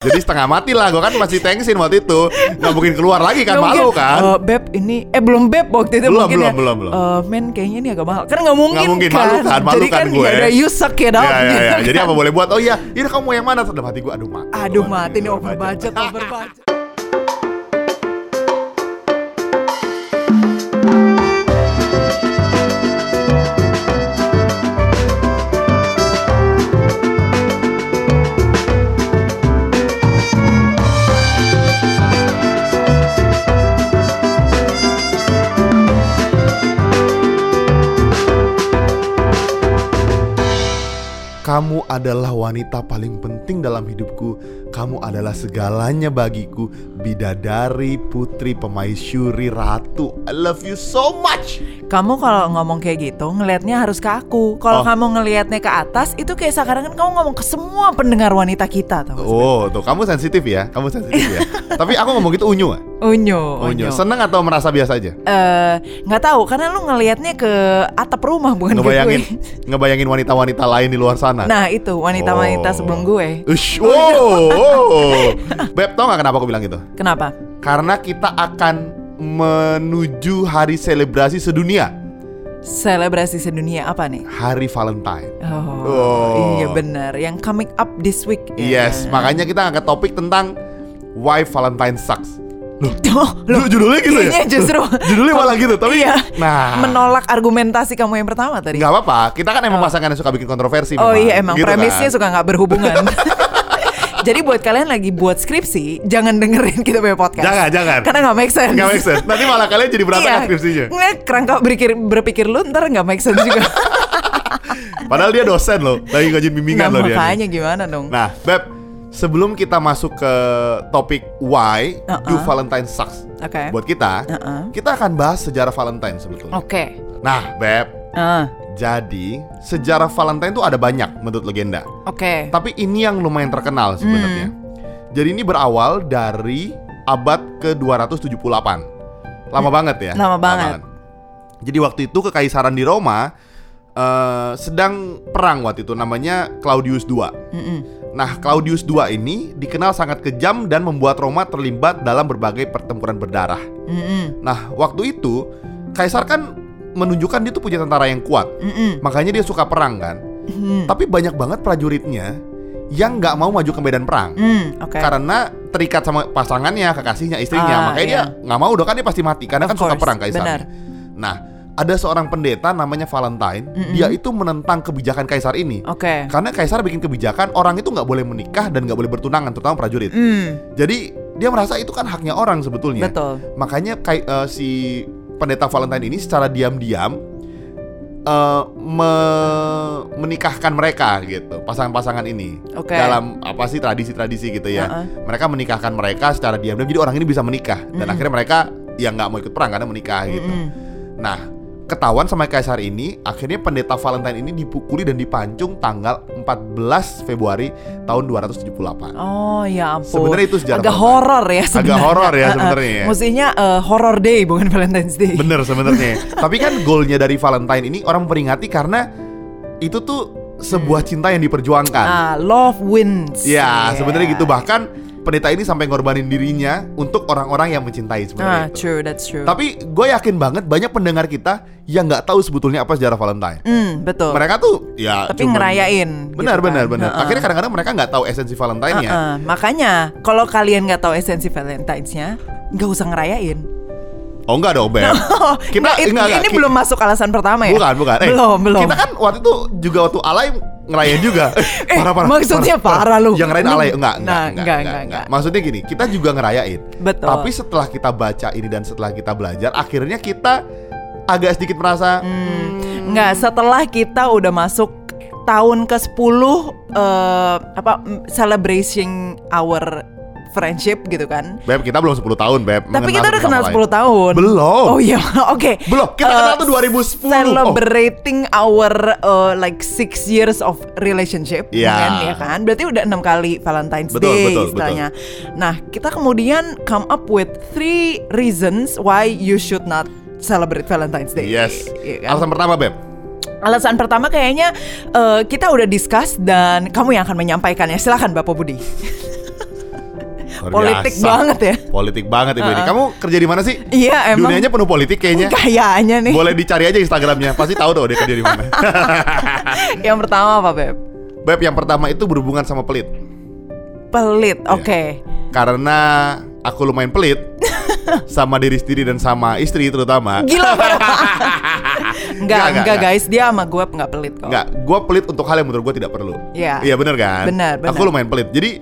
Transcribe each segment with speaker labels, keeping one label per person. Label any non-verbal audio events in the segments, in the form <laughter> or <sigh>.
Speaker 1: Jadi setengah mati lah, gue kan masih tensin waktu itu Gak mungkin keluar lagi kan,
Speaker 2: Nggak mungkin,
Speaker 1: malu kan
Speaker 2: "Eh, beb ini eh belum beb waktu itu
Speaker 1: Belum,
Speaker 2: mungkin
Speaker 1: belum,
Speaker 2: ya.
Speaker 1: belum, belum.
Speaker 2: "Eh, men kayaknya ini agak mahal. Kan nggak mungkin,
Speaker 1: Nggak mungkin, malu kan, malu
Speaker 2: Jadi
Speaker 1: kan
Speaker 2: kan
Speaker 1: gue.
Speaker 2: ya udah you suck it
Speaker 1: Ya,
Speaker 2: up.
Speaker 1: ya,
Speaker 2: gitu
Speaker 1: ya.
Speaker 2: kan.
Speaker 1: Jadi apa boleh buat? Oh iya, ini kamu mau yang mana? Dalam hati gue, aduh mati
Speaker 2: Aduh mati nih over
Speaker 1: budget.
Speaker 2: budget, over budget.
Speaker 1: Kamu adalah wanita paling penting dalam hidupku Kamu adalah segalanya bagiku Bidadari, putri, pemaisuri, ratu I love you so much
Speaker 2: Kamu kalau ngomong kayak gitu ngelihatnya harus ke aku.
Speaker 1: Oh.
Speaker 2: Kalau kamu ngelihatnya ke atas itu kayak sekarang kan kamu ngomong ke semua pendengar wanita kita tau nggak sih?
Speaker 1: Oh, tuh kamu sensitif ya, kamu sensitif
Speaker 2: <laughs>
Speaker 1: ya Tapi aku ngomong gitu unyu gak?
Speaker 2: Unyu,
Speaker 1: Unyu,
Speaker 2: unyu.
Speaker 1: seneng atau merasa biasa aja?
Speaker 2: Eh, nggak tahu karena lu ngelihatnya ke atap rumah bukan ke
Speaker 1: ngebayangin
Speaker 2: gue.
Speaker 1: ngebayangin wanita-wanita lain di luar sana.
Speaker 2: Nah itu wanita-wanita
Speaker 1: Oh.
Speaker 2: sebelum gue.
Speaker 1: Ush, wow, wow. Beb, tau gak kenapa aku bilang gitu?
Speaker 2: Kenapa?
Speaker 1: Karena kita akan menuju hari selebrasi sedunia,
Speaker 2: Selebrasi sedunia apa nih?
Speaker 1: Hari Valentine.
Speaker 2: Oh,
Speaker 1: Oh.
Speaker 2: iya benar. Yang coming up this week. <laughs> ya.
Speaker 1: Yes, makanya kita angkat topik tentang why Valentine sucks.
Speaker 2: Oh,
Speaker 1: Lu judulnya gitu ya?
Speaker 2: kayaknya justru
Speaker 1: Judulnya malah gitu, tapi
Speaker 2: iya.
Speaker 1: Nah,
Speaker 2: menolak argumentasi kamu yang pertama tadi.
Speaker 1: nggak apa-apa. Kita kan emang pasangan yang suka bikin kontroversi.
Speaker 2: oh
Speaker 1: memang.
Speaker 2: iya emang
Speaker 1: Gitu kan.
Speaker 2: premisnya suka nggak berhubungan.
Speaker 1: <laughs>
Speaker 2: Jadi buat kalian lagi buat skripsi, jangan dengerin kita punya podcast.
Speaker 1: Jangan, jangan.
Speaker 2: Karena nggak make sense.
Speaker 1: Nggak make sense. Nanti malah kalian jadi berantakan
Speaker 2: Iya.
Speaker 1: skripsinya.
Speaker 2: Ngeliat kerangka berpikir, berpikir lu ntar nggak make sense
Speaker 1: <laughs>
Speaker 2: juga.
Speaker 1: Padahal dia dosen loh, lagi ngajin bimbingan
Speaker 2: nah,
Speaker 1: loh dia. nih.
Speaker 2: makanya gimana dong?
Speaker 1: Nah, Beb, sebelum kita masuk ke topik why do
Speaker 2: Uh-uh.
Speaker 1: Valentine sucks
Speaker 2: Oke.
Speaker 1: buat kita,
Speaker 2: Uh-uh. Oh.
Speaker 1: kita akan bahas sejarah Valentine sebetulnya.
Speaker 2: Oke.
Speaker 1: Nah, Beb,
Speaker 2: Ah,
Speaker 1: jadi sejarah Valentine tuh ada banyak menurut legenda.
Speaker 2: Oke.
Speaker 1: Tapi ini yang lumayan terkenal
Speaker 2: Hmm.
Speaker 1: sebenarnya. Jadi ini berawal dari abad ke-278. Lama banget ya?
Speaker 2: Hmm. Lama banget.
Speaker 1: Jadi waktu itu kekaisaran di Roma eh, sedang perang waktu itu namanya Claudius II.
Speaker 2: Mm-mm.
Speaker 1: Nah, Claudius II ini dikenal sangat kejam dan membuat Roma terlibat dalam berbagai pertempuran berdarah.
Speaker 2: Mm-mm.
Speaker 1: Nah, waktu itu kaisar kan menunjukkan dia tuh punya tentara yang kuat.
Speaker 2: Mm-mm.
Speaker 1: Makanya dia suka perang kan.
Speaker 2: Mm.
Speaker 1: Tapi banyak banget prajuritnya yang nggak mau maju ke medan perang
Speaker 2: Mm, Oke.
Speaker 1: karena terikat sama pasangannya, kekasihnya,
Speaker 2: Ah,
Speaker 1: istrinya. Makanya
Speaker 2: iya.
Speaker 1: dia nggak mau, udah kan dia pasti mati karena
Speaker 2: Of
Speaker 1: kan suka
Speaker 2: course,
Speaker 1: perang kaisar.
Speaker 2: benar.
Speaker 1: Nah, ada seorang pendeta namanya Valentine,
Speaker 2: Mm-mm.
Speaker 1: dia itu menentang kebijakan kaisar ini.
Speaker 2: Oke.
Speaker 1: Karena kaisar bikin kebijakan orang itu nggak boleh menikah dan nggak boleh bertunangan terutama prajurit.
Speaker 2: Mm,
Speaker 1: Jadi dia merasa itu kan haknya orang sebetulnya.
Speaker 2: Betul.
Speaker 1: Makanya kai- eh, si pendeta Valentine ini secara diam-diam eh, me- menikahkan mereka gitu pasangan-pasangan ini
Speaker 2: Oke.
Speaker 1: dalam apa sih tradisi-tradisi gitu ya.
Speaker 2: Uh-uh.
Speaker 1: Mereka menikahkan mereka secara diam-diam jadi orang ini bisa menikah dan
Speaker 2: Mm-mm.
Speaker 1: akhirnya mereka yang nggak mau ikut perang karena menikah gitu.
Speaker 2: Mm-mm.
Speaker 1: Nah, ketahuan sama kaisar ini, akhirnya pendeta Valentine ini dipukuli dan dipancung tanggal 14 Februari tahun 278.
Speaker 2: Oh ya ampun.
Speaker 1: Sebenarnya itu sejarah
Speaker 2: agak
Speaker 1: Valentine.
Speaker 2: horor ya sebenarnya.
Speaker 1: horor ya
Speaker 2: Ah, ah.
Speaker 1: sebenarnya ya.
Speaker 2: Mestinya eh, horror day bukan <laughs> Valentine's Day.
Speaker 1: Bener
Speaker 2: <laughs>
Speaker 1: sebenarnya. Tapi kan goalnya dari Valentine ini orang memperingati karena itu tuh sebuah cinta yang diperjuangkan.
Speaker 2: Hmm. Ah, iya. love wins. Ah,
Speaker 1: Ya,
Speaker 2: Yeah.
Speaker 1: sebenarnya gitu. Bahkan pendeta ini sampai ngorbanin dirinya untuk orang-orang yang mencintai sebenarnya
Speaker 2: Ah,
Speaker 1: itu.
Speaker 2: true, that's true.
Speaker 1: Tapi gue yakin banget banyak pendengar kita yang nggak tahu sebetulnya apa sejarah Valentine.
Speaker 2: Mm, betul.
Speaker 1: Mereka tuh ya
Speaker 2: Tapi
Speaker 1: cuman-
Speaker 2: ngerayain.
Speaker 1: Benar,
Speaker 2: gitu kan.
Speaker 1: benar, benar.
Speaker 2: Ah, ah.
Speaker 1: Akhirnya kadang-kadang mereka nggak tahu esensi Valentine ya.
Speaker 2: Ah, ah. Makanya kalau kalian nggak tahu esensi Valentine's-nya, nggak usah ngerayain. <laughs>
Speaker 1: Oh enggak dong, Beb.
Speaker 2: Oh,
Speaker 1: Kita-
Speaker 2: nggak, ini,
Speaker 1: enggak, enggak,
Speaker 2: ini
Speaker 1: ki-
Speaker 2: belum masuk alasan pertama ya?
Speaker 1: Bukan, bukan. Eh,
Speaker 2: belum, belum.
Speaker 1: Kita kan waktu itu juga waktu alay ngerayain juga.
Speaker 2: <laughs> Eh, maksudnya parah lu.
Speaker 1: Yang ngerayain
Speaker 2: Ini-
Speaker 1: alay enggak, enggak, enggak,
Speaker 2: Nah, enggak,
Speaker 1: enggak,
Speaker 2: enggak,
Speaker 1: enggak.
Speaker 2: enggak.
Speaker 1: Maksudnya gini, kita juga ngerayain.
Speaker 2: Betul.
Speaker 1: Tapi setelah kita baca ini dan setelah kita belajar, akhirnya kita agak sedikit merasa
Speaker 2: Hmm. Nggak, setelah kita udah masuk tahun ke-10 eh, apa mm, celebration our friendship gitu kan.
Speaker 1: Beb, kita belum 10 tahun, Beb.
Speaker 2: Tapi kita udah kenal
Speaker 1: tahun.
Speaker 2: 10 tahun.
Speaker 1: Belum.
Speaker 2: Oh iya, <laughs> oke.
Speaker 1: Belum, kita
Speaker 2: Eh,
Speaker 1: kenal tuh 2010.
Speaker 2: Celebrating our eh, like six years of relationship,
Speaker 1: Iya.
Speaker 2: kan, ya kan? Berarti udah enam kali Valentine's
Speaker 1: Betul,
Speaker 2: Day
Speaker 1: betul,
Speaker 2: istilahnya. Nah, kita kemudian come up with three reasons why you should not celebrate Valentine's Day.
Speaker 1: Yes.
Speaker 2: Iya kan?
Speaker 1: Alasan pertama, Beb.
Speaker 2: Alasan pertama kayaknya ya.
Speaker 1: <laughs>
Speaker 2: eh, kita udah discuss dan kamu yang akan menyampaikannya. Silakan Bapak Budi.
Speaker 1: Luar
Speaker 2: Politik
Speaker 1: biasa.
Speaker 2: banget ya.
Speaker 1: Politik banget Ibu ini. Kamu kerja di mana sih?
Speaker 2: Iya, emang.
Speaker 1: Dunianya penuh politik kayaknya.
Speaker 2: <laughs> Kayaknya nih.
Speaker 1: Boleh dicari aja Instagramnya, pasti tahu dong dia kerja di mana.
Speaker 2: <laughs> Yang pertama apa, Beb?
Speaker 1: Beb, yang pertama itu berhubungan sama pelit.
Speaker 2: Pelit.
Speaker 1: Iya.
Speaker 2: Oke.
Speaker 1: Karena aku lumayan pelit
Speaker 2: <laughs>
Speaker 1: sama diri sendiri dan sama istri terutama. <laughs>
Speaker 2: Gila Beb. Enggak,
Speaker 1: enggak,
Speaker 2: enggak
Speaker 1: enggak.
Speaker 2: guys, dia sama gue enggak pelit kok.
Speaker 1: Enggak, gue pelit untuk hal yang menurut gue tidak perlu.
Speaker 2: Iya.
Speaker 1: Iya bener kan?
Speaker 2: Benar, benar.
Speaker 1: Aku lumayan pelit. Jadi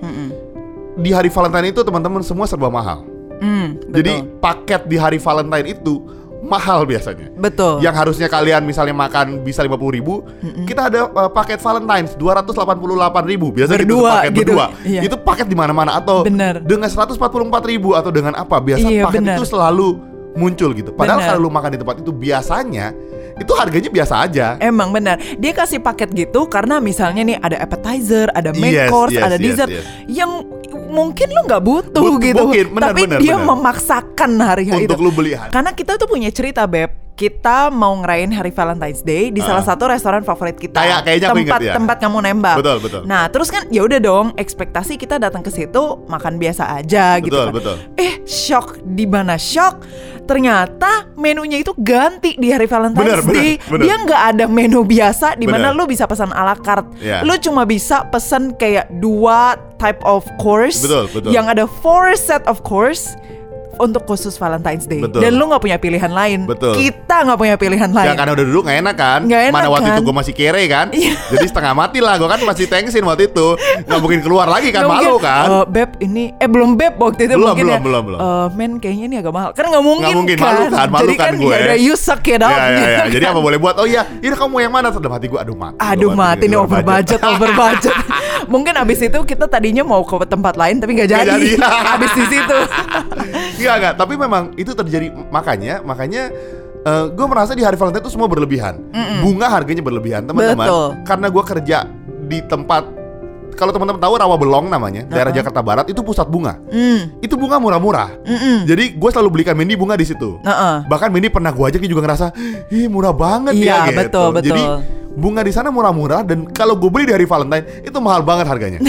Speaker 1: di hari Valentine itu teman-teman semua serba mahal.
Speaker 2: Hmm, betul.
Speaker 1: Jadi paket di hari Valentine itu mahal biasanya.
Speaker 2: betul.
Speaker 1: Yang harusnya kalian misalnya makan bisa 50.000 ribu Kita ada uh, paket Valentine's 288.000 ribu Biasanya gitu tuh
Speaker 2: Berdua,
Speaker 1: paket
Speaker 2: gitu.
Speaker 1: berdua
Speaker 2: Iya.
Speaker 1: Itu paket di mana mana Atau
Speaker 2: Bener.
Speaker 1: dengan 144.000 ribu Atau dengan apa Biasa
Speaker 2: Iya,
Speaker 1: paket
Speaker 2: bener.
Speaker 1: itu selalu muncul gitu Padahal
Speaker 2: Bener.
Speaker 1: kalau lu makan di tempat itu biasanya Itu harganya biasa aja
Speaker 2: Emang benar. Dia kasih paket gitu karena misalnya nih ada appetizer, ada main
Speaker 1: Yes,
Speaker 2: course,
Speaker 1: yes,
Speaker 2: ada
Speaker 1: yes,
Speaker 2: dessert
Speaker 1: yes.
Speaker 2: yang mungkin lu nggak butuh
Speaker 1: Butuh,
Speaker 2: gitu.
Speaker 1: mungkin. Benar,
Speaker 2: Tapi
Speaker 1: benar,
Speaker 2: dia
Speaker 1: benar.
Speaker 2: memaksakan hari hari
Speaker 1: Untuk
Speaker 2: itu.
Speaker 1: lu beli hari-
Speaker 2: Karena kita tuh punya cerita, Beb. Kita mau ngerayain hari Valentine's Day di salah satu restoran favorit kita.
Speaker 1: Ah. Kayak- kayaknya aku
Speaker 2: tempat
Speaker 1: ingat, ya.
Speaker 2: tempat kamu nembak.
Speaker 1: Betul, betul.
Speaker 2: Nah, terus kan ya udah dong, ekspektasi kita datang ke situ makan biasa aja gitu
Speaker 1: Betul,
Speaker 2: kan.
Speaker 1: betul.
Speaker 2: Eh, shock di mana shock? Ternyata menunya itu ganti di hari Valentine's
Speaker 1: Benar, benar,
Speaker 2: Day.
Speaker 1: benar.
Speaker 2: Dia nggak ada menu biasa di mana
Speaker 1: Benar.
Speaker 2: lu bisa pesan ala carte.
Speaker 1: Iya.
Speaker 2: Lu cuma bisa pesan kayak dua type of course
Speaker 1: Betul, betul.
Speaker 2: yang ada four set of course untuk khusus Valentine's Day.
Speaker 1: Betul.
Speaker 2: Dan lu nggak punya pilihan lain.
Speaker 1: Betul.
Speaker 2: Kita nggak punya pilihan
Speaker 1: Ya
Speaker 2: lain.
Speaker 1: karena udah duduk gak enak kan
Speaker 2: Nggak enak,
Speaker 1: Mana waktu itu
Speaker 2: kan?
Speaker 1: gue masih kere kan
Speaker 2: Iya.
Speaker 1: Jadi setengah mati lah Gue kan masih tensin waktu itu Gak mungkin keluar lagi kan
Speaker 2: Nggak
Speaker 1: Malu
Speaker 2: mungkin,
Speaker 1: kan
Speaker 2: "Eh, beb ini eh belum beb waktu itu
Speaker 1: Belum,
Speaker 2: mungkin
Speaker 1: belum,
Speaker 2: ya,
Speaker 1: belum, belum.
Speaker 2: "Eh, men kayaknya ini agak mahal. Kan nggak mungkin.
Speaker 1: Nggak mungkin, malu kan, malu
Speaker 2: Jadi
Speaker 1: kan
Speaker 2: kan
Speaker 1: gue.
Speaker 2: ya udah you suck it
Speaker 1: Ya,
Speaker 2: up.
Speaker 1: ya, ya.
Speaker 2: gitu
Speaker 1: Jadi
Speaker 2: kan.
Speaker 1: apa boleh buat? Oh iya, ini kamu yang mana? Sedap hati gue, aduh mati.
Speaker 2: Aduh
Speaker 1: gua
Speaker 2: mati
Speaker 1: di
Speaker 2: nih
Speaker 1: luar
Speaker 2: over budget, over budget. <laughs> Mungkin abis itu kita tadinya mau ke tempat lain tapi nggak
Speaker 1: Nggak
Speaker 2: jadi.
Speaker 1: jadi.
Speaker 2: <laughs> abis di situ.
Speaker 1: <laughs> Enggak, enggak. Tapi memang itu terjadi makanya, makanya gue merasa di hari Valentine itu semua berlebihan. Bunga harganya berlebihan,
Speaker 2: Betul.
Speaker 1: teman-teman. Karena gue kerja di tempat kalau teman-teman tahu Rawa Belong namanya, daerah Jakarta Barat itu pusat bunga.
Speaker 2: Mm.
Speaker 1: Itu bunga murah-murah. Jadi gue selalu belikan Mendy bunga di situ.
Speaker 2: Heeh.
Speaker 1: Bahkan Mendy pernah gue ajak dia juga ngerasa, ih murah banget
Speaker 2: Iya,
Speaker 1: ya. gitu.
Speaker 2: betul, betul.
Speaker 1: Jadi bunga di sana murah-murah dan kalau gue beli di hari Valentine itu mahal banget
Speaker 2: <laughs>
Speaker 1: harganya.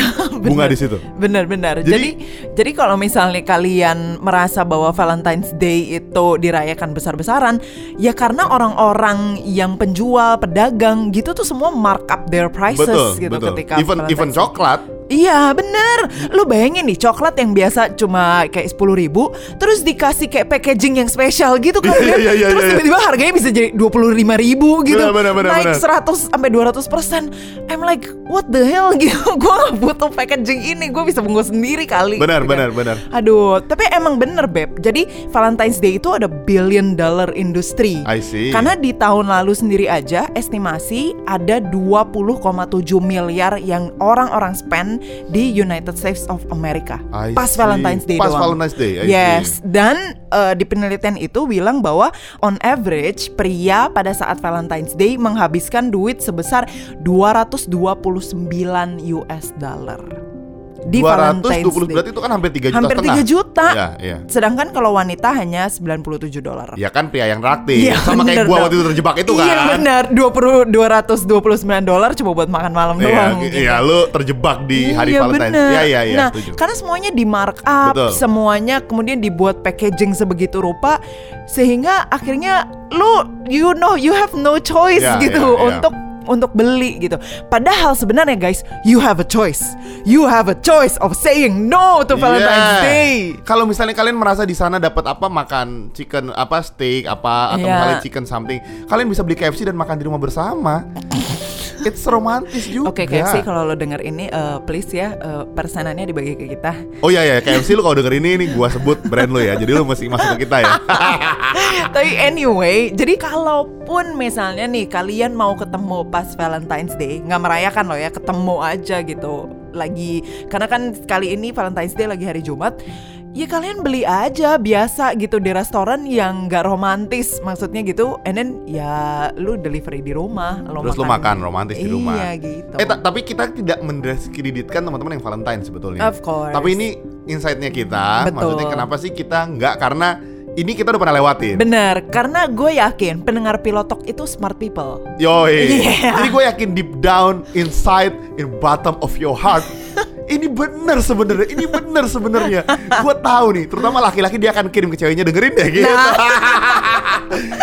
Speaker 1: bunga di situ.
Speaker 2: Benar-benar.
Speaker 1: Jadi-
Speaker 2: Jadi, jadi kalau misalnya kalian merasa bahwa Valentine's Day itu dirayakan besar-besaran, ya karena orang-orang yang penjual, pedagang gitu tuh semua markup their prices
Speaker 1: Betul,
Speaker 2: gitu
Speaker 1: betul.
Speaker 2: ketika
Speaker 1: Even
Speaker 2: Valentine's
Speaker 1: even
Speaker 2: Day.
Speaker 1: coklat
Speaker 2: Iya bener Lu bayangin nih coklat yang biasa cuma kayak 10 ribu Terus dikasih kayak packaging yang spesial gitu kan
Speaker 1: Iya,
Speaker 2: Beb.
Speaker 1: iya, iya,
Speaker 2: Terus
Speaker 1: iya.
Speaker 2: tiba-tiba harganya bisa jadi 25 ribu gitu
Speaker 1: Bener, bener, bener,
Speaker 2: Naik
Speaker 1: bener.
Speaker 2: 100 sampai 200 persen I'm like what the hell <laughs> gitu Gue gak butuh packaging ini Gue bisa bungkus sendiri kali
Speaker 1: Benar,
Speaker 2: gitu
Speaker 1: benar,
Speaker 2: kan.
Speaker 1: benar.
Speaker 2: Aduh tapi emang bener Beb Jadi Valentine's Day itu ada billion dollar industry
Speaker 1: I see.
Speaker 2: Karena di tahun lalu sendiri aja estimasi ada 20,7 miliar yang orang-orang spend di United States of America.
Speaker 1: I
Speaker 2: pas
Speaker 1: see.
Speaker 2: Valentine's Day
Speaker 1: Pas
Speaker 2: doang.
Speaker 1: Valentine's Day, I
Speaker 2: yes. Dan eh, di penelitian itu bilang bahwa on average pria pada saat Valentine's Day menghabiskan duit sebesar 229 US dollar. Di
Speaker 1: 220
Speaker 2: Day.
Speaker 1: berarti itu kan hampir 3 juta
Speaker 2: hampir
Speaker 1: setengah.
Speaker 2: 3 juta.
Speaker 1: Iya, iya.
Speaker 2: Sedangkan kalau wanita hanya 97 dolar.
Speaker 1: Ya kan pria yang raktir
Speaker 2: Iya,
Speaker 1: Sama kayak gua
Speaker 2: bener dong.
Speaker 1: waktu itu terjebak itu kan
Speaker 2: Iya benar 20 229 dolar cuma buat makan malam
Speaker 1: Iya,
Speaker 2: doang. gitu.
Speaker 1: iya, lu terjebak di hari
Speaker 2: Iya,
Speaker 1: Valentine
Speaker 2: bener.
Speaker 1: Iya iya iya
Speaker 2: Nah,
Speaker 1: setuju.
Speaker 2: karena semuanya di markup,
Speaker 1: Betul.
Speaker 2: semuanya kemudian dibuat packaging sebegitu rupa sehingga akhirnya lu you know you have no choice
Speaker 1: Iya,
Speaker 2: gitu
Speaker 1: iya, iya.
Speaker 2: untuk untuk beli gitu. Padahal sebenarnya guys, you have a choice. You have a choice of saying no to Valentine's
Speaker 1: Iya.
Speaker 2: Day.
Speaker 1: Kalau misalnya kalian merasa di sana dapat apa makan chicken apa steak apa atau
Speaker 2: Iya.
Speaker 1: misalnya chicken something, kalian bisa beli KFC dan makan di rumah bersama. It's romantis juga.
Speaker 2: Oke, KFC kalau lo denger ini eh, please ya eh, persenannya dibagi ke kita.
Speaker 1: Oh iya ya, KFC lu kalau denger ini ini gua sebut brand lu ya. Jadi lu mesti masuk ke kita ya. <laughs> Ah.
Speaker 2: <laughs> Tapi anyway, jadi kalaupun misalnya nih kalian mau ketemu pas Valentine's Day, nggak merayakan loh ya, ketemu aja gitu. Lagi karena kan kali ini Valentine's Day lagi hari Jumat. Ya kalian beli aja biasa gitu di restoran yang nggak romantis maksudnya gitu. And then ya lu delivery di rumah, lo
Speaker 1: Terus lu makan romantis di rumah.
Speaker 2: Iya gitu.
Speaker 1: Eh ta- tapi kita tidak mendiskreditkan teman-teman yang Valentine sebetulnya.
Speaker 2: Of course.
Speaker 1: Tapi ini insight-nya kita.
Speaker 2: Betul.
Speaker 1: Maksudnya kenapa sih kita nggak karena ini kita udah pernah lewatin.
Speaker 2: Bener, karena gue yakin pendengar pilotok itu smart people.
Speaker 1: Yoi.
Speaker 2: Iya.
Speaker 1: Jadi gue yakin deep down, inside, in bottom of your heart ini bener sebenarnya, ini bener sebenarnya. Gua tahu nih, terutama laki-laki dia akan kirim ke ceweknya dengerin deh gitu.
Speaker 2: Nah.
Speaker 1: <laughs>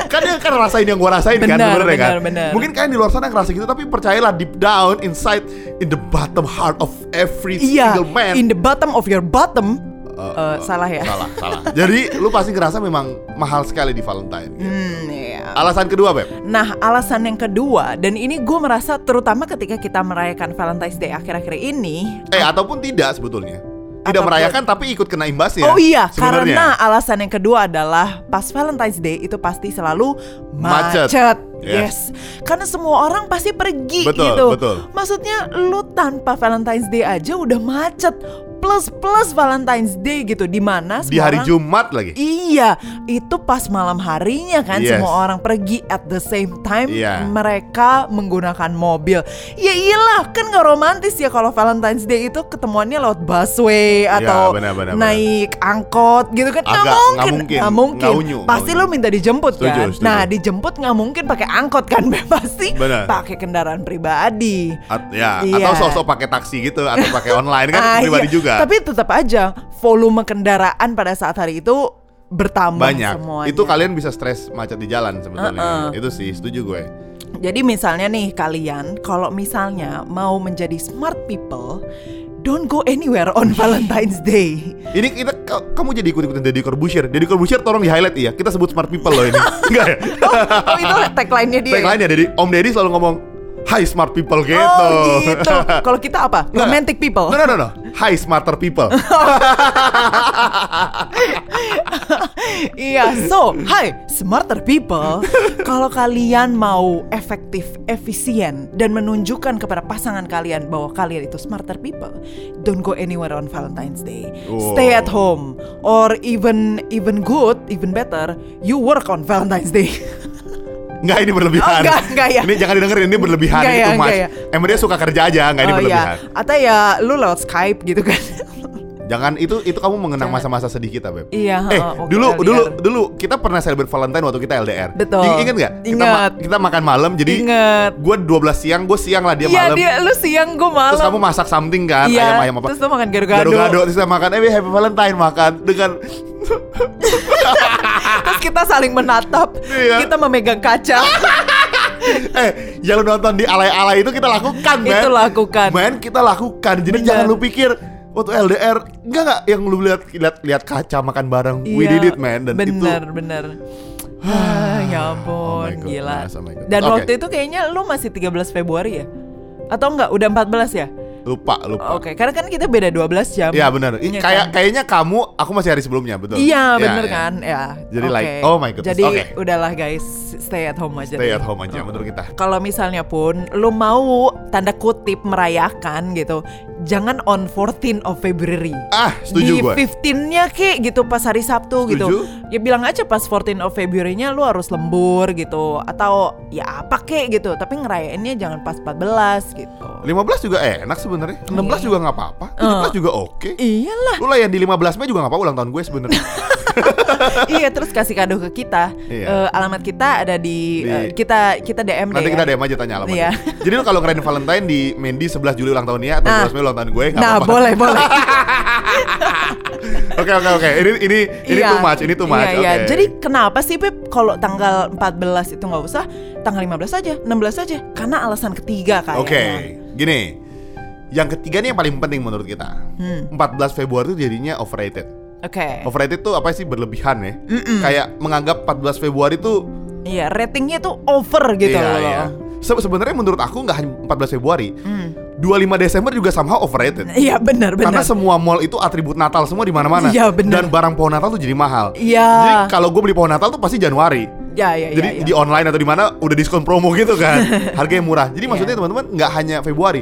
Speaker 1: kan dia kan rasain yang gua rasain kan
Speaker 2: Benar,
Speaker 1: sebenarnya kan.
Speaker 2: benar, benar.
Speaker 1: Mungkin kalian di luar sana ngerasa gitu, tapi percayalah deep down inside in the bottom heart of every
Speaker 2: Iya,
Speaker 1: single man.
Speaker 2: in the bottom of your bottom.
Speaker 1: Eh,
Speaker 2: Eh, salah ya?
Speaker 1: Salah, salah. Jadi lu pasti ngerasa memang mahal sekali di Valentine. gitu.
Speaker 2: <laughs> Hmm, iya.
Speaker 1: Alasan kedua, Beb.
Speaker 2: Nah, alasan yang kedua, dan ini gue merasa terutama ketika kita merayakan Valentine's Day akhir-akhir ini.
Speaker 1: Eh ataupun tidak sebetulnya. Tidak
Speaker 2: Ataupun-
Speaker 1: merayakan tapi ikut kena imbasnya.
Speaker 2: oh iya,
Speaker 1: sebenarnya.
Speaker 2: karena alasan yang kedua adalah pas Valentine's Day itu pasti selalu
Speaker 1: Macet.
Speaker 2: macet.
Speaker 1: Yes.
Speaker 2: Yes. Karena semua orang pasti pergi
Speaker 1: Betul,
Speaker 2: gitu.
Speaker 1: betul.
Speaker 2: Maksudnya lu tanpa Valentine's Day aja udah macet plus plus Valentine's Day gitu di mana
Speaker 1: di
Speaker 2: semua
Speaker 1: hari
Speaker 2: orang-
Speaker 1: Jumat lagi.
Speaker 2: Iya, itu pas malam harinya kan
Speaker 1: Yes.
Speaker 2: semua orang pergi at the same time
Speaker 1: Iya.
Speaker 2: mereka menggunakan mobil. Ya iyalah, kan nggak romantis ya kalau Valentine's Day itu ketemuannya lewat busway atau
Speaker 1: Iya, benar, benar, benar.
Speaker 2: naik angkot gitu kan nggak
Speaker 1: Agak,
Speaker 2: mungkin,
Speaker 1: nggak mungkin,
Speaker 2: nggak mungkin.
Speaker 1: nggak unyu,
Speaker 2: Pasti
Speaker 1: nggak
Speaker 2: lu
Speaker 1: unyu.
Speaker 2: minta dijemput
Speaker 1: Setuju,
Speaker 2: kan.
Speaker 1: setuju.
Speaker 2: Nah dijemput nggak mungkin pakai angkot kan, <laughs> pasti
Speaker 1: Benar.
Speaker 2: pakai kendaraan pribadi.
Speaker 1: At- ya,
Speaker 2: Iya.
Speaker 1: atau sosok pakai taksi gitu atau
Speaker 2: <laughs>
Speaker 1: pakai online kan
Speaker 2: Ah,
Speaker 1: pribadi
Speaker 2: iya.
Speaker 1: juga.
Speaker 2: Tapi tetap aja volume kendaraan pada saat hari itu bertambah
Speaker 1: banyak.
Speaker 2: semuanya.
Speaker 1: Itu kalian bisa stres macet di jalan sebetulnya.
Speaker 2: Uh-uh.
Speaker 1: Itu sih setuju gue.
Speaker 2: Jadi misalnya nih kalian kalau misalnya mau menjadi smart people, don't go anywhere on <laughs> Valentine's Day.
Speaker 1: Ini kita ka- kamu jadi ikut-ikutin Deddy Corbuzier. Deddy Corbuzier tolong di highlight ya. Kita sebut smart people loh
Speaker 2: <laughs>
Speaker 1: ini. Enggak ya?
Speaker 2: Oh itu tagline-nya dia. ya?
Speaker 1: Tagline ya Deddy, Om Deddy selalu ngomong Hi smart people gitu.
Speaker 2: Oh gitu. Kalau kita apa?
Speaker 1: Nggak.
Speaker 2: Romantic people.
Speaker 1: <laughs> No no no no. Hi smarter
Speaker 2: <laughs>
Speaker 1: people.
Speaker 2: Iya, so, hai smarter
Speaker 1: <laughs>
Speaker 2: people. Kalau kalian mau efektif, efisien dan menunjukkan kepada pasangan kalian bahwa kalian itu smarter people, don't go anywhere on Valentine's Day.
Speaker 1: Wow.
Speaker 2: Stay at home or even even good, even better, you work on Valentine's Day.
Speaker 1: Enggak ini berlebihan.
Speaker 2: Oh, enggak, enggak ya.
Speaker 1: Ini jangan didengerin ini berlebihan
Speaker 2: Enggak
Speaker 1: ini
Speaker 2: ya,
Speaker 1: too much.
Speaker 2: enggak ya.
Speaker 1: Emang dia suka kerja aja, enggak ini
Speaker 2: Oh,
Speaker 1: berlebihan.
Speaker 2: iya. Atau ya lu lewat Skype gitu
Speaker 1: <laughs>
Speaker 2: kan.
Speaker 1: Jangan itu itu kamu mengenang masa-masa sedih kita, Beb.
Speaker 2: Iya,
Speaker 1: Eh,
Speaker 2: oh, oke,
Speaker 1: dulu
Speaker 2: LDR.
Speaker 1: dulu dulu kita pernah celebrate Valentine waktu kita LDR.
Speaker 2: Betul.
Speaker 1: Ing- Ingat nggak? Kita, ma-
Speaker 2: Ingat.
Speaker 1: kita makan malam jadi
Speaker 2: Ingat.
Speaker 1: gue 12 siang, gue siang lah dia
Speaker 2: Iya,
Speaker 1: malam.
Speaker 2: dia lu siang gue malam.
Speaker 1: Terus kamu masak something kan,
Speaker 2: Iya,
Speaker 1: ayam ayam apa?
Speaker 2: terus lu makan gado-gado.
Speaker 1: Gado-gado terus kita makan, eh happy Valentine makan dengan
Speaker 2: Terus kita saling menatap.
Speaker 1: Iya.
Speaker 2: Kita memegang kaca.
Speaker 1: eh yang lu nonton di alay-alay itu kita lakukan, men.
Speaker 2: Itu lakukan.
Speaker 1: Men, kita lakukan. Jadi
Speaker 2: Bener.
Speaker 1: jangan lu pikir "Oh, waktu LDR enggak enggak yang lu lihat lihat lihat kaca makan bareng. <laughs> We
Speaker 2: Iya,
Speaker 1: did it, man. Dan
Speaker 2: bener,
Speaker 1: itu Oh
Speaker 2: bener. Ah, ya ampun,
Speaker 1: my God,
Speaker 2: gila.
Speaker 1: nice, oh my God.
Speaker 2: Dan
Speaker 1: Oke.
Speaker 2: waktu itu kayaknya lu masih 13 Februari ya? Atau enggak, udah 14 ya?
Speaker 1: lupa lupa.
Speaker 2: Oke, karena kan kita beda 12 jam.
Speaker 1: Iya benar. Ih,
Speaker 2: Iya
Speaker 1: Kayak
Speaker 2: kan?
Speaker 1: kayaknya kamu aku masih hari sebelumnya, betul. Ya,
Speaker 2: Iya, bener
Speaker 1: ya.
Speaker 2: kan? Ya.
Speaker 1: Jadi
Speaker 2: oke.
Speaker 1: like, oh my goodness,
Speaker 2: Jadi
Speaker 1: oke.
Speaker 2: udahlah guys, stay at home aja.
Speaker 1: Stay
Speaker 2: deh.
Speaker 1: at home aja menurut kita.
Speaker 2: Kalau misalnya pun lu mau tanda kutip merayakan gitu, jangan on 14 of February.
Speaker 1: Ah, setuju gue.
Speaker 2: Di 15-nya kek gitu pas hari
Speaker 1: Setuju.
Speaker 2: Sabtu gitu. Ya bilang aja pas 14 of February-nya lu harus lembur gitu atau ya apa kek gitu, tapi ngerayainnya jangan pas 14 gitu.
Speaker 1: 15 juga enak sebenarnya. 16
Speaker 2: Iya.
Speaker 1: juga nggak apa-apa. 17 juga oke.
Speaker 2: Iyalah.
Speaker 1: <laughs> Lu lah yang di 15 Mei juga nggak apa-apa ulang tahun gue sebenarnya.
Speaker 2: iya, terus kasih kado ke kita.
Speaker 1: Iya.
Speaker 2: Eh, alamat kita ada di,
Speaker 1: Di-
Speaker 2: eh, kita kita DM deh
Speaker 1: Nanti
Speaker 2: ya.
Speaker 1: kita DM aja tanya alamatnya.
Speaker 2: Iya.
Speaker 1: Jadi lu kalau ngerayain Valentine di Mendy 11 Juli ulang tahunnya atau
Speaker 2: Nah.
Speaker 1: 12 Mei ulang tahun gue nggak
Speaker 2: Nah,
Speaker 1: apa-apa.
Speaker 2: boleh, boleh.
Speaker 1: <laughs> Oke oke oke. Ini ini ini
Speaker 2: Iya.
Speaker 1: too much, ini too much.
Speaker 2: Iya, iya.
Speaker 1: Oke.
Speaker 2: Jadi kenapa sih Pip kalau tanggal 14 itu nggak usah, tanggal 15 aja, 16 aja? Karena alasan ketiga kayaknya.
Speaker 1: Oke, gini. Yang ketiga nih yang paling penting menurut kita. 14 Februari itu jadinya overrated.
Speaker 2: Hmm. Oke.
Speaker 1: Overrated tuh apa sih berlebihan ya? Kayak menganggap 14 Februari tuh
Speaker 2: Iya, ratingnya tuh over gitu
Speaker 1: iya,
Speaker 2: loh.
Speaker 1: iya. Se- Sebenarnya menurut aku nggak hanya 14 Februari.
Speaker 2: Hmm.
Speaker 1: 25 Desember juga somehow overrated.
Speaker 2: Iya, benar,
Speaker 1: Karena
Speaker 2: benar.
Speaker 1: semua mall itu atribut Natal semua di mana-mana.
Speaker 2: Iya, bener.
Speaker 1: Dan barang pohon Natal tuh jadi mahal.
Speaker 2: Iya.
Speaker 1: Jadi kalau gue beli pohon Natal tuh pasti Januari.
Speaker 2: Ya, ya,
Speaker 1: Jadi
Speaker 2: ya, ya.
Speaker 1: di online atau di mana udah diskon promo gitu
Speaker 2: <laughs>
Speaker 1: kan. Harganya murah.
Speaker 2: Iya.
Speaker 1: Jadi maksudnya teman-teman nggak hanya Februari.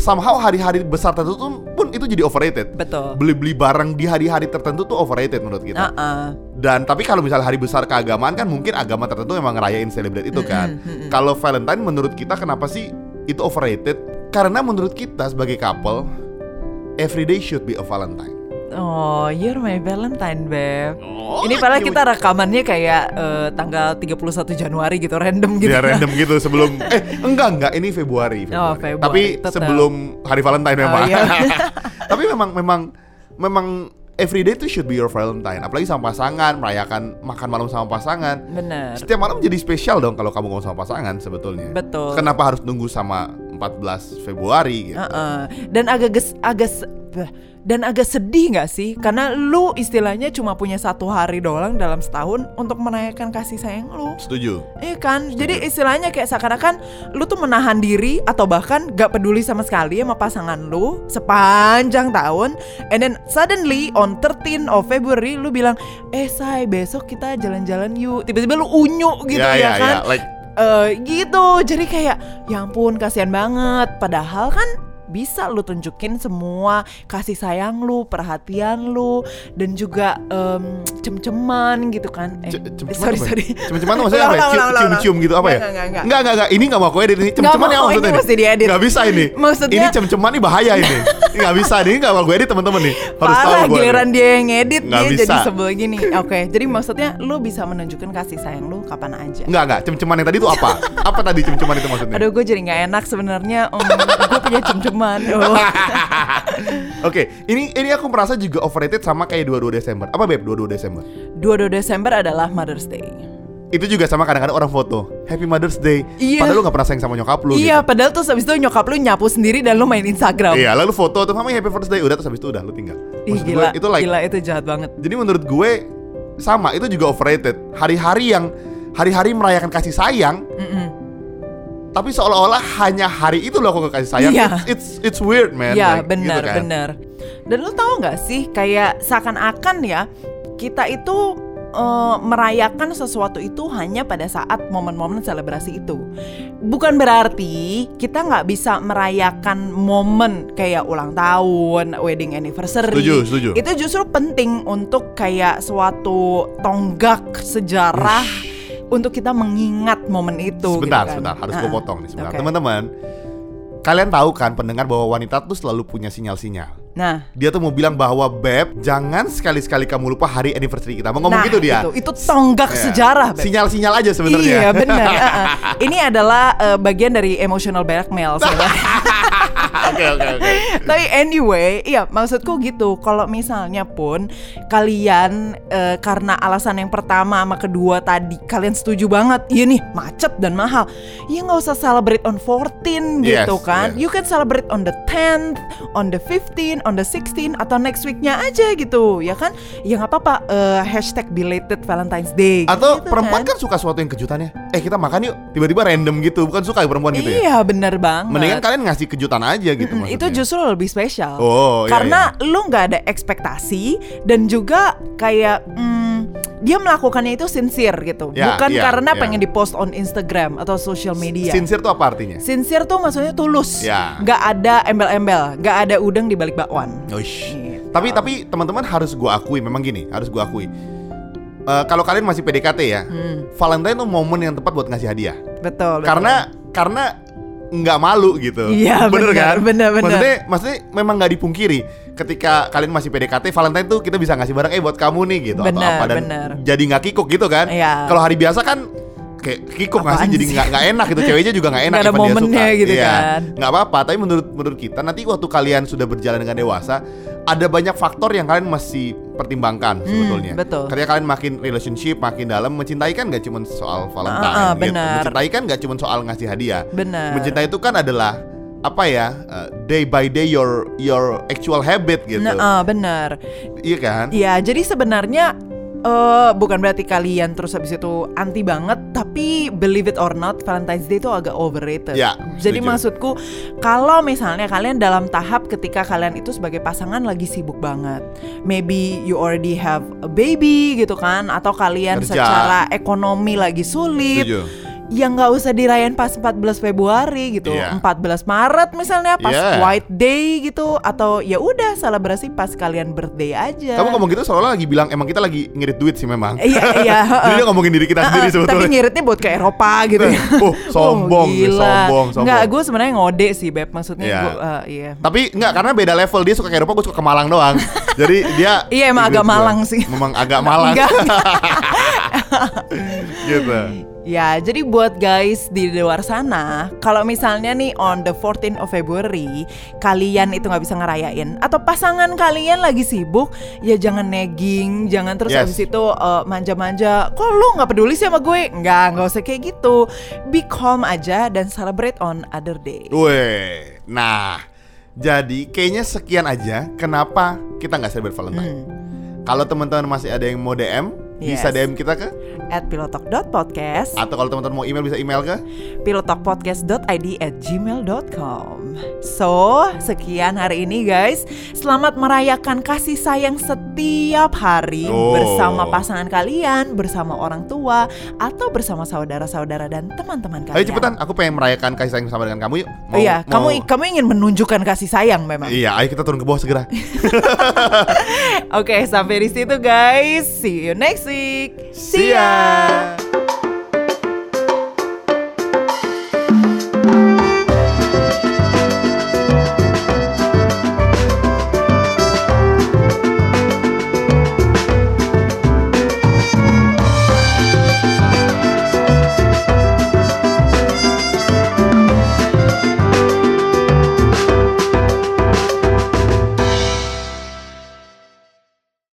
Speaker 1: Somehow hari-hari besar tertentu pun itu jadi overrated.
Speaker 2: Betul.
Speaker 1: Beli-beli barang di hari-hari tertentu tuh overrated menurut kita.
Speaker 2: Heeh.
Speaker 1: Dan tapi kalau misalnya hari besar keagamaan kan mungkin agama tertentu memang ngerayain celebrate itu kan. Kalau Valentine menurut kita kenapa sih itu overrated? Karena menurut kita sebagai couple every day should be a Valentine.
Speaker 2: Oh, you're my Valentine, Beb.
Speaker 1: Oh,
Speaker 2: Ini padahal
Speaker 1: you-
Speaker 2: kita rekamannya kayak eh, tanggal 31 Januari gitu, random gitu.
Speaker 1: Biar random gitu
Speaker 2: <laughs>
Speaker 1: sebelum eh enggak enggak ini Februari, Februari.
Speaker 2: Oh, Februari,
Speaker 1: Tapi
Speaker 2: tetap. Oh,
Speaker 1: sebelum hari Valentine memang.
Speaker 2: iya.
Speaker 1: <laughs> Tapi memang memang memang everyday itu should be your Valentine. Apalagi sama pasangan, merayakan makan malam sama pasangan.
Speaker 2: Bener.
Speaker 1: Setiap malam jadi spesial dong kalau kamu ngomong sama pasangan sebetulnya.
Speaker 2: Betul.
Speaker 1: Kenapa harus nunggu sama 14 Februari gitu?
Speaker 2: Heeh. Dan agak ges, agak se- beh, dan agak sedih nggak sih? Karena lu istilahnya cuma punya satu hari doang dalam setahun untuk menaikkan kasih sayang lu.
Speaker 1: Setuju.
Speaker 2: Iya kan? Jadi istilahnya kayak seakan-akan lu tuh menahan diri atau bahkan gak peduli sama sekali sama pasangan lu sepanjang tahun and then suddenly on 13 of February lu bilang, "Eh, say, besok kita jalan-jalan yuk." Tiba-tiba lu unyu gitu
Speaker 1: Ya,
Speaker 2: ya,
Speaker 1: ya,
Speaker 2: kan?
Speaker 1: ya. Like
Speaker 2: eh gitu jadi kayak ya ampun kasihan banget padahal kan bisa lu tunjukin semua kasih sayang lu perhatian lu dan juga em, cem-ceman gitu kan eh,
Speaker 1: Ce- cem-ceman
Speaker 2: sorry
Speaker 1: apa ya?
Speaker 2: sorry <laughs>
Speaker 1: Cem-ceman tuh maksudnya apa ya?
Speaker 2: Ulang, ulang,
Speaker 1: Cium-
Speaker 2: ulang, ulang.
Speaker 1: Cium-cium gitu apa ya?
Speaker 2: Nggak, nggak, nggak.
Speaker 1: Enggak, enggak, enggak Ini nggak mau aku edit Ini cem-ceman
Speaker 2: mau,
Speaker 1: ya maksudnya
Speaker 2: ini mesti diedit.
Speaker 1: Nggak bisa ini
Speaker 2: <laughs> Maksudnya-
Speaker 1: Ini cem-ceman nih bahaya ini Ini nggak bisa Ini nggak mau gue edit teman-teman nih Harus tahu
Speaker 2: Parah
Speaker 1: gue
Speaker 2: giliran dia yang ngedit
Speaker 1: Nggak
Speaker 2: dia
Speaker 1: bisa.
Speaker 2: jadi sebel gini oke jadi maksudnya lu bisa menunjukkan kasih sayang lu kapan aja
Speaker 1: Enggak, enggak Cem-ceman yang tadi itu apa? apa tadi cem-ceman itu maksudnya?
Speaker 2: aduh gue jadi nggak enak sebenarnya gue punya cem-ceman Oh.
Speaker 1: <laughs> Oke, ini ini aku merasa juga overrated sama kayak 22 Desember. Apa beb 22 Desember?
Speaker 2: 22 Desember adalah Mother's Day
Speaker 1: Itu juga sama kadang-kadang orang foto Happy Mother's Day.
Speaker 2: Iya.
Speaker 1: Padahal lu gak pernah sayang sama nyokap lu.
Speaker 2: Iya,
Speaker 1: Gitu.
Speaker 2: padahal tuh habis itu nyokap lu nyapu sendiri dan lu main Instagram.
Speaker 1: Iya, lalu foto tuh mami Happy Mother's Day udah terus habis itu udah lu tinggal.
Speaker 2: Ih,
Speaker 1: Maksud
Speaker 2: gila,
Speaker 1: gue, itu like
Speaker 2: gila itu jahat banget.
Speaker 1: Jadi menurut gue sama itu juga overrated. Hari-hari yang hari-hari merayakan kasih sayang, tapi seolah-olah hanya hari itu loh aku kasih sayang.
Speaker 2: Iya.
Speaker 1: It's, it's it's weird man.
Speaker 2: Iya,
Speaker 1: Like,
Speaker 2: benar,
Speaker 1: gitu kan.
Speaker 2: benar. Dan lu tahu nggak sih kayak seakan-akan ya kita itu eh, merayakan sesuatu itu hanya pada saat momen-momen selebrasi itu. Bukan berarti kita nggak bisa merayakan momen kayak ulang tahun, wedding anniversary.
Speaker 1: Setuju, setuju.
Speaker 2: Itu justru penting untuk kayak suatu tonggak sejarah untuk kita mengingat momen itu.
Speaker 1: Sebentar,
Speaker 2: gitu kan.
Speaker 1: sebentar, harus gue
Speaker 2: Heeh.
Speaker 1: potong nih sebentar.
Speaker 2: Oke.
Speaker 1: Teman-teman, kalian tahu kan pendengar bahwa wanita tuh selalu punya sinyal-sinyal.
Speaker 2: Nah,
Speaker 1: Dia tuh mau bilang bahwa Beb, jangan sekali-sekali kamu lupa hari anniversary kita. Mau ngomong
Speaker 2: nah,
Speaker 1: gitu dia.
Speaker 2: Itu, itu tonggak
Speaker 1: Iya.
Speaker 2: sejarah. Beb.
Speaker 1: Sinyal-sinyal aja sebenarnya. <laughs>
Speaker 2: Iya benar. Heeh. Ini adalah eh, bagian dari emotional
Speaker 1: <laughs>
Speaker 2: blackmail sebenarnya.
Speaker 1: Oke, oke,
Speaker 2: <laughs>
Speaker 1: oke.
Speaker 2: Tapi anyway, iya maksudku gitu. Kalau misalnya pun kalian eh, karena alasan yang pertama sama kedua tadi kalian setuju banget, iya nih macet dan mahal. Ya nggak usah celebrate on 14
Speaker 1: Yes,
Speaker 2: gitu kan.
Speaker 1: yes.
Speaker 2: You can celebrate on the 10th, on the 15th, on the 16th atau next weeknya aja gitu, ya kan? Ya nggak apa-apa. eh, hashtag belated Valentine's Day.
Speaker 1: Atau
Speaker 2: gitu
Speaker 1: perempuan kan suka sesuatu yang kejutannya. Eh kita makan yuk, tiba-tiba random gitu. Bukan suka ya perempuan gitu ya.
Speaker 2: Iya bener banget.
Speaker 1: Mendingan kalian ngasih kejutan aja gitu
Speaker 2: Mm,
Speaker 1: maksudnya.
Speaker 2: itu justru lebih spesial
Speaker 1: Oh, iya,
Speaker 2: karena lu nggak ada ekspektasi dan juga kayak mm, dia melakukannya itu sincere gitu
Speaker 1: Ya,
Speaker 2: bukan
Speaker 1: iya, iya.
Speaker 2: karena pengen dipost on Instagram atau social media
Speaker 1: Sincere tuh apa artinya?
Speaker 2: sincere tuh maksudnya tulus
Speaker 1: Ya.
Speaker 2: nggak ada embel-embel nggak ada udang di balik bakwan
Speaker 1: Ush.
Speaker 2: Gitu.
Speaker 1: Tapi tapi teman-teman harus gua akui memang gini, harus gua akui. Eh, kalau kalian masih PDKT ya,
Speaker 2: Hmm.
Speaker 1: Valentine tuh momen yang tepat buat ngasih hadiah.
Speaker 2: betul, betul.
Speaker 1: Karena karena nggak malu gitu.
Speaker 2: Iya, bener, bener, bener.
Speaker 1: Maksudnya maksudnya memang nggak dipungkiri ketika kalian masih PDKT Valentine tuh kita bisa ngasih barang eh buat kamu nih gitu atau
Speaker 2: Bener,
Speaker 1: apa dan
Speaker 2: bener.
Speaker 1: jadi nggak kikuk gitu kan.
Speaker 2: Iya.
Speaker 1: Kalau hari biasa kan kayak kikuk ngasih
Speaker 2: Apaan
Speaker 1: jadi
Speaker 2: sih?
Speaker 1: nggak nggak enak gitu ceweknya juga nggak enak
Speaker 2: Nggak ada
Speaker 1: even dia
Speaker 2: momennya
Speaker 1: suka.
Speaker 2: gitu
Speaker 1: Iya.
Speaker 2: kan.
Speaker 1: nggak apa-apa tapi menurut menurut kita nanti waktu kalian sudah berjalan dengan dewasa ada banyak faktor yang kalian masih pertimbangkan sebetulnya
Speaker 2: Hmm, betul.
Speaker 1: ketika kalian makin relationship makin dalam mencintai kan nggak cuma soal Valentine
Speaker 2: Ah, ah,
Speaker 1: gitu
Speaker 2: benar.
Speaker 1: mencintai kan nggak cuma soal ngasih hadiah
Speaker 2: Benar.
Speaker 1: mencintai itu kan adalah apa ya uh, day by day your your actual habit gitu
Speaker 2: Nah, benar
Speaker 1: iya kan
Speaker 2: Iya, jadi sebenarnya eh bukan berarti kalian terus habis itu anti banget, tapi believe it or not, Valentine's Day itu agak overrated.
Speaker 1: Ya,
Speaker 2: jadi
Speaker 1: setuju.
Speaker 2: maksudku, kalau misalnya kalian dalam tahap ketika kalian itu sebagai pasangan lagi sibuk banget, maybe you already have a baby gitu kan, atau kalian
Speaker 1: Kerja.
Speaker 2: secara ekonomi lagi sulit,
Speaker 1: Setuju.
Speaker 2: yang nggak usah dirayain pas 14 Februari gitu,
Speaker 1: Iya.
Speaker 2: 14 Maret misalnya pas
Speaker 1: Iya.
Speaker 2: White Day gitu, atau ya udah selebrasi pas kalian birthday aja.
Speaker 1: kamu ngomong gitu seolah lagi bilang emang kita lagi ngirit duit sih memang
Speaker 2: Iya, iya.
Speaker 1: <laughs> jadi dia ngomongin diri kita sendiri
Speaker 2: Heeh, Tapi
Speaker 1: sebetulnya
Speaker 2: ngiritnya buat ke Eropa gitu. ya.
Speaker 1: <laughs> Oh, sombong,
Speaker 2: Oh,
Speaker 1: gue sombong, sombong.
Speaker 2: Nggak, gue sebenarnya ngode sih, Beb. Maksudnya
Speaker 1: Iya.
Speaker 2: gue, eh, iya.
Speaker 1: Tapi enggak karena beda level dia suka ke Eropa, gue suka ke Malang doang.
Speaker 2: <laughs>
Speaker 1: Jadi dia
Speaker 2: Iya, emang agak
Speaker 1: Gua- <laughs>
Speaker 2: Malang sih.
Speaker 1: Memang agak Malang
Speaker 2: Nggak.
Speaker 1: gitu.
Speaker 2: Ya, jadi buat guys di luar sana, kalau misalnya nih on the 14th of February, kalian itu nggak bisa ngerayain atau pasangan kalian lagi sibuk, ya jangan nagging, jangan terus
Speaker 1: Yes.
Speaker 2: habis itu eh, manja-manja. Kok lu nggak peduli sih sama gue? Nggak, nggak usah kayak gitu. Be calm aja dan celebrate on other day.
Speaker 1: Weh, nah jadi kayaknya sekian aja kenapa kita nggak celebrate Valentine. Kalau teman-teman masih ada yang mau DM, bisa
Speaker 2: Hmm. Yes.
Speaker 1: DM kita ke
Speaker 2: At pilotalk.podcast,
Speaker 1: atau kalau teman-teman mau email bisa email ke.
Speaker 2: Iya, pilotalkpodcast.id at gmail.com So, sekian hari ini guys Selamat merayakan kasih sayang setiap hari
Speaker 1: Oh.
Speaker 2: Bersama pasangan kalian, bersama orang tua Atau bersama saudara-saudara dan teman-teman kalian
Speaker 1: Ayo cepetan, aku pengen merayakan kasih sayang bersama dengan kamu yuk.
Speaker 2: Oh Iya, kamu kamu ingin menunjukkan kasih sayang memang
Speaker 1: Iya, ayo kita turun ke bawah segera.
Speaker 2: Oke, sampai di situ guys See you next week
Speaker 1: See ya.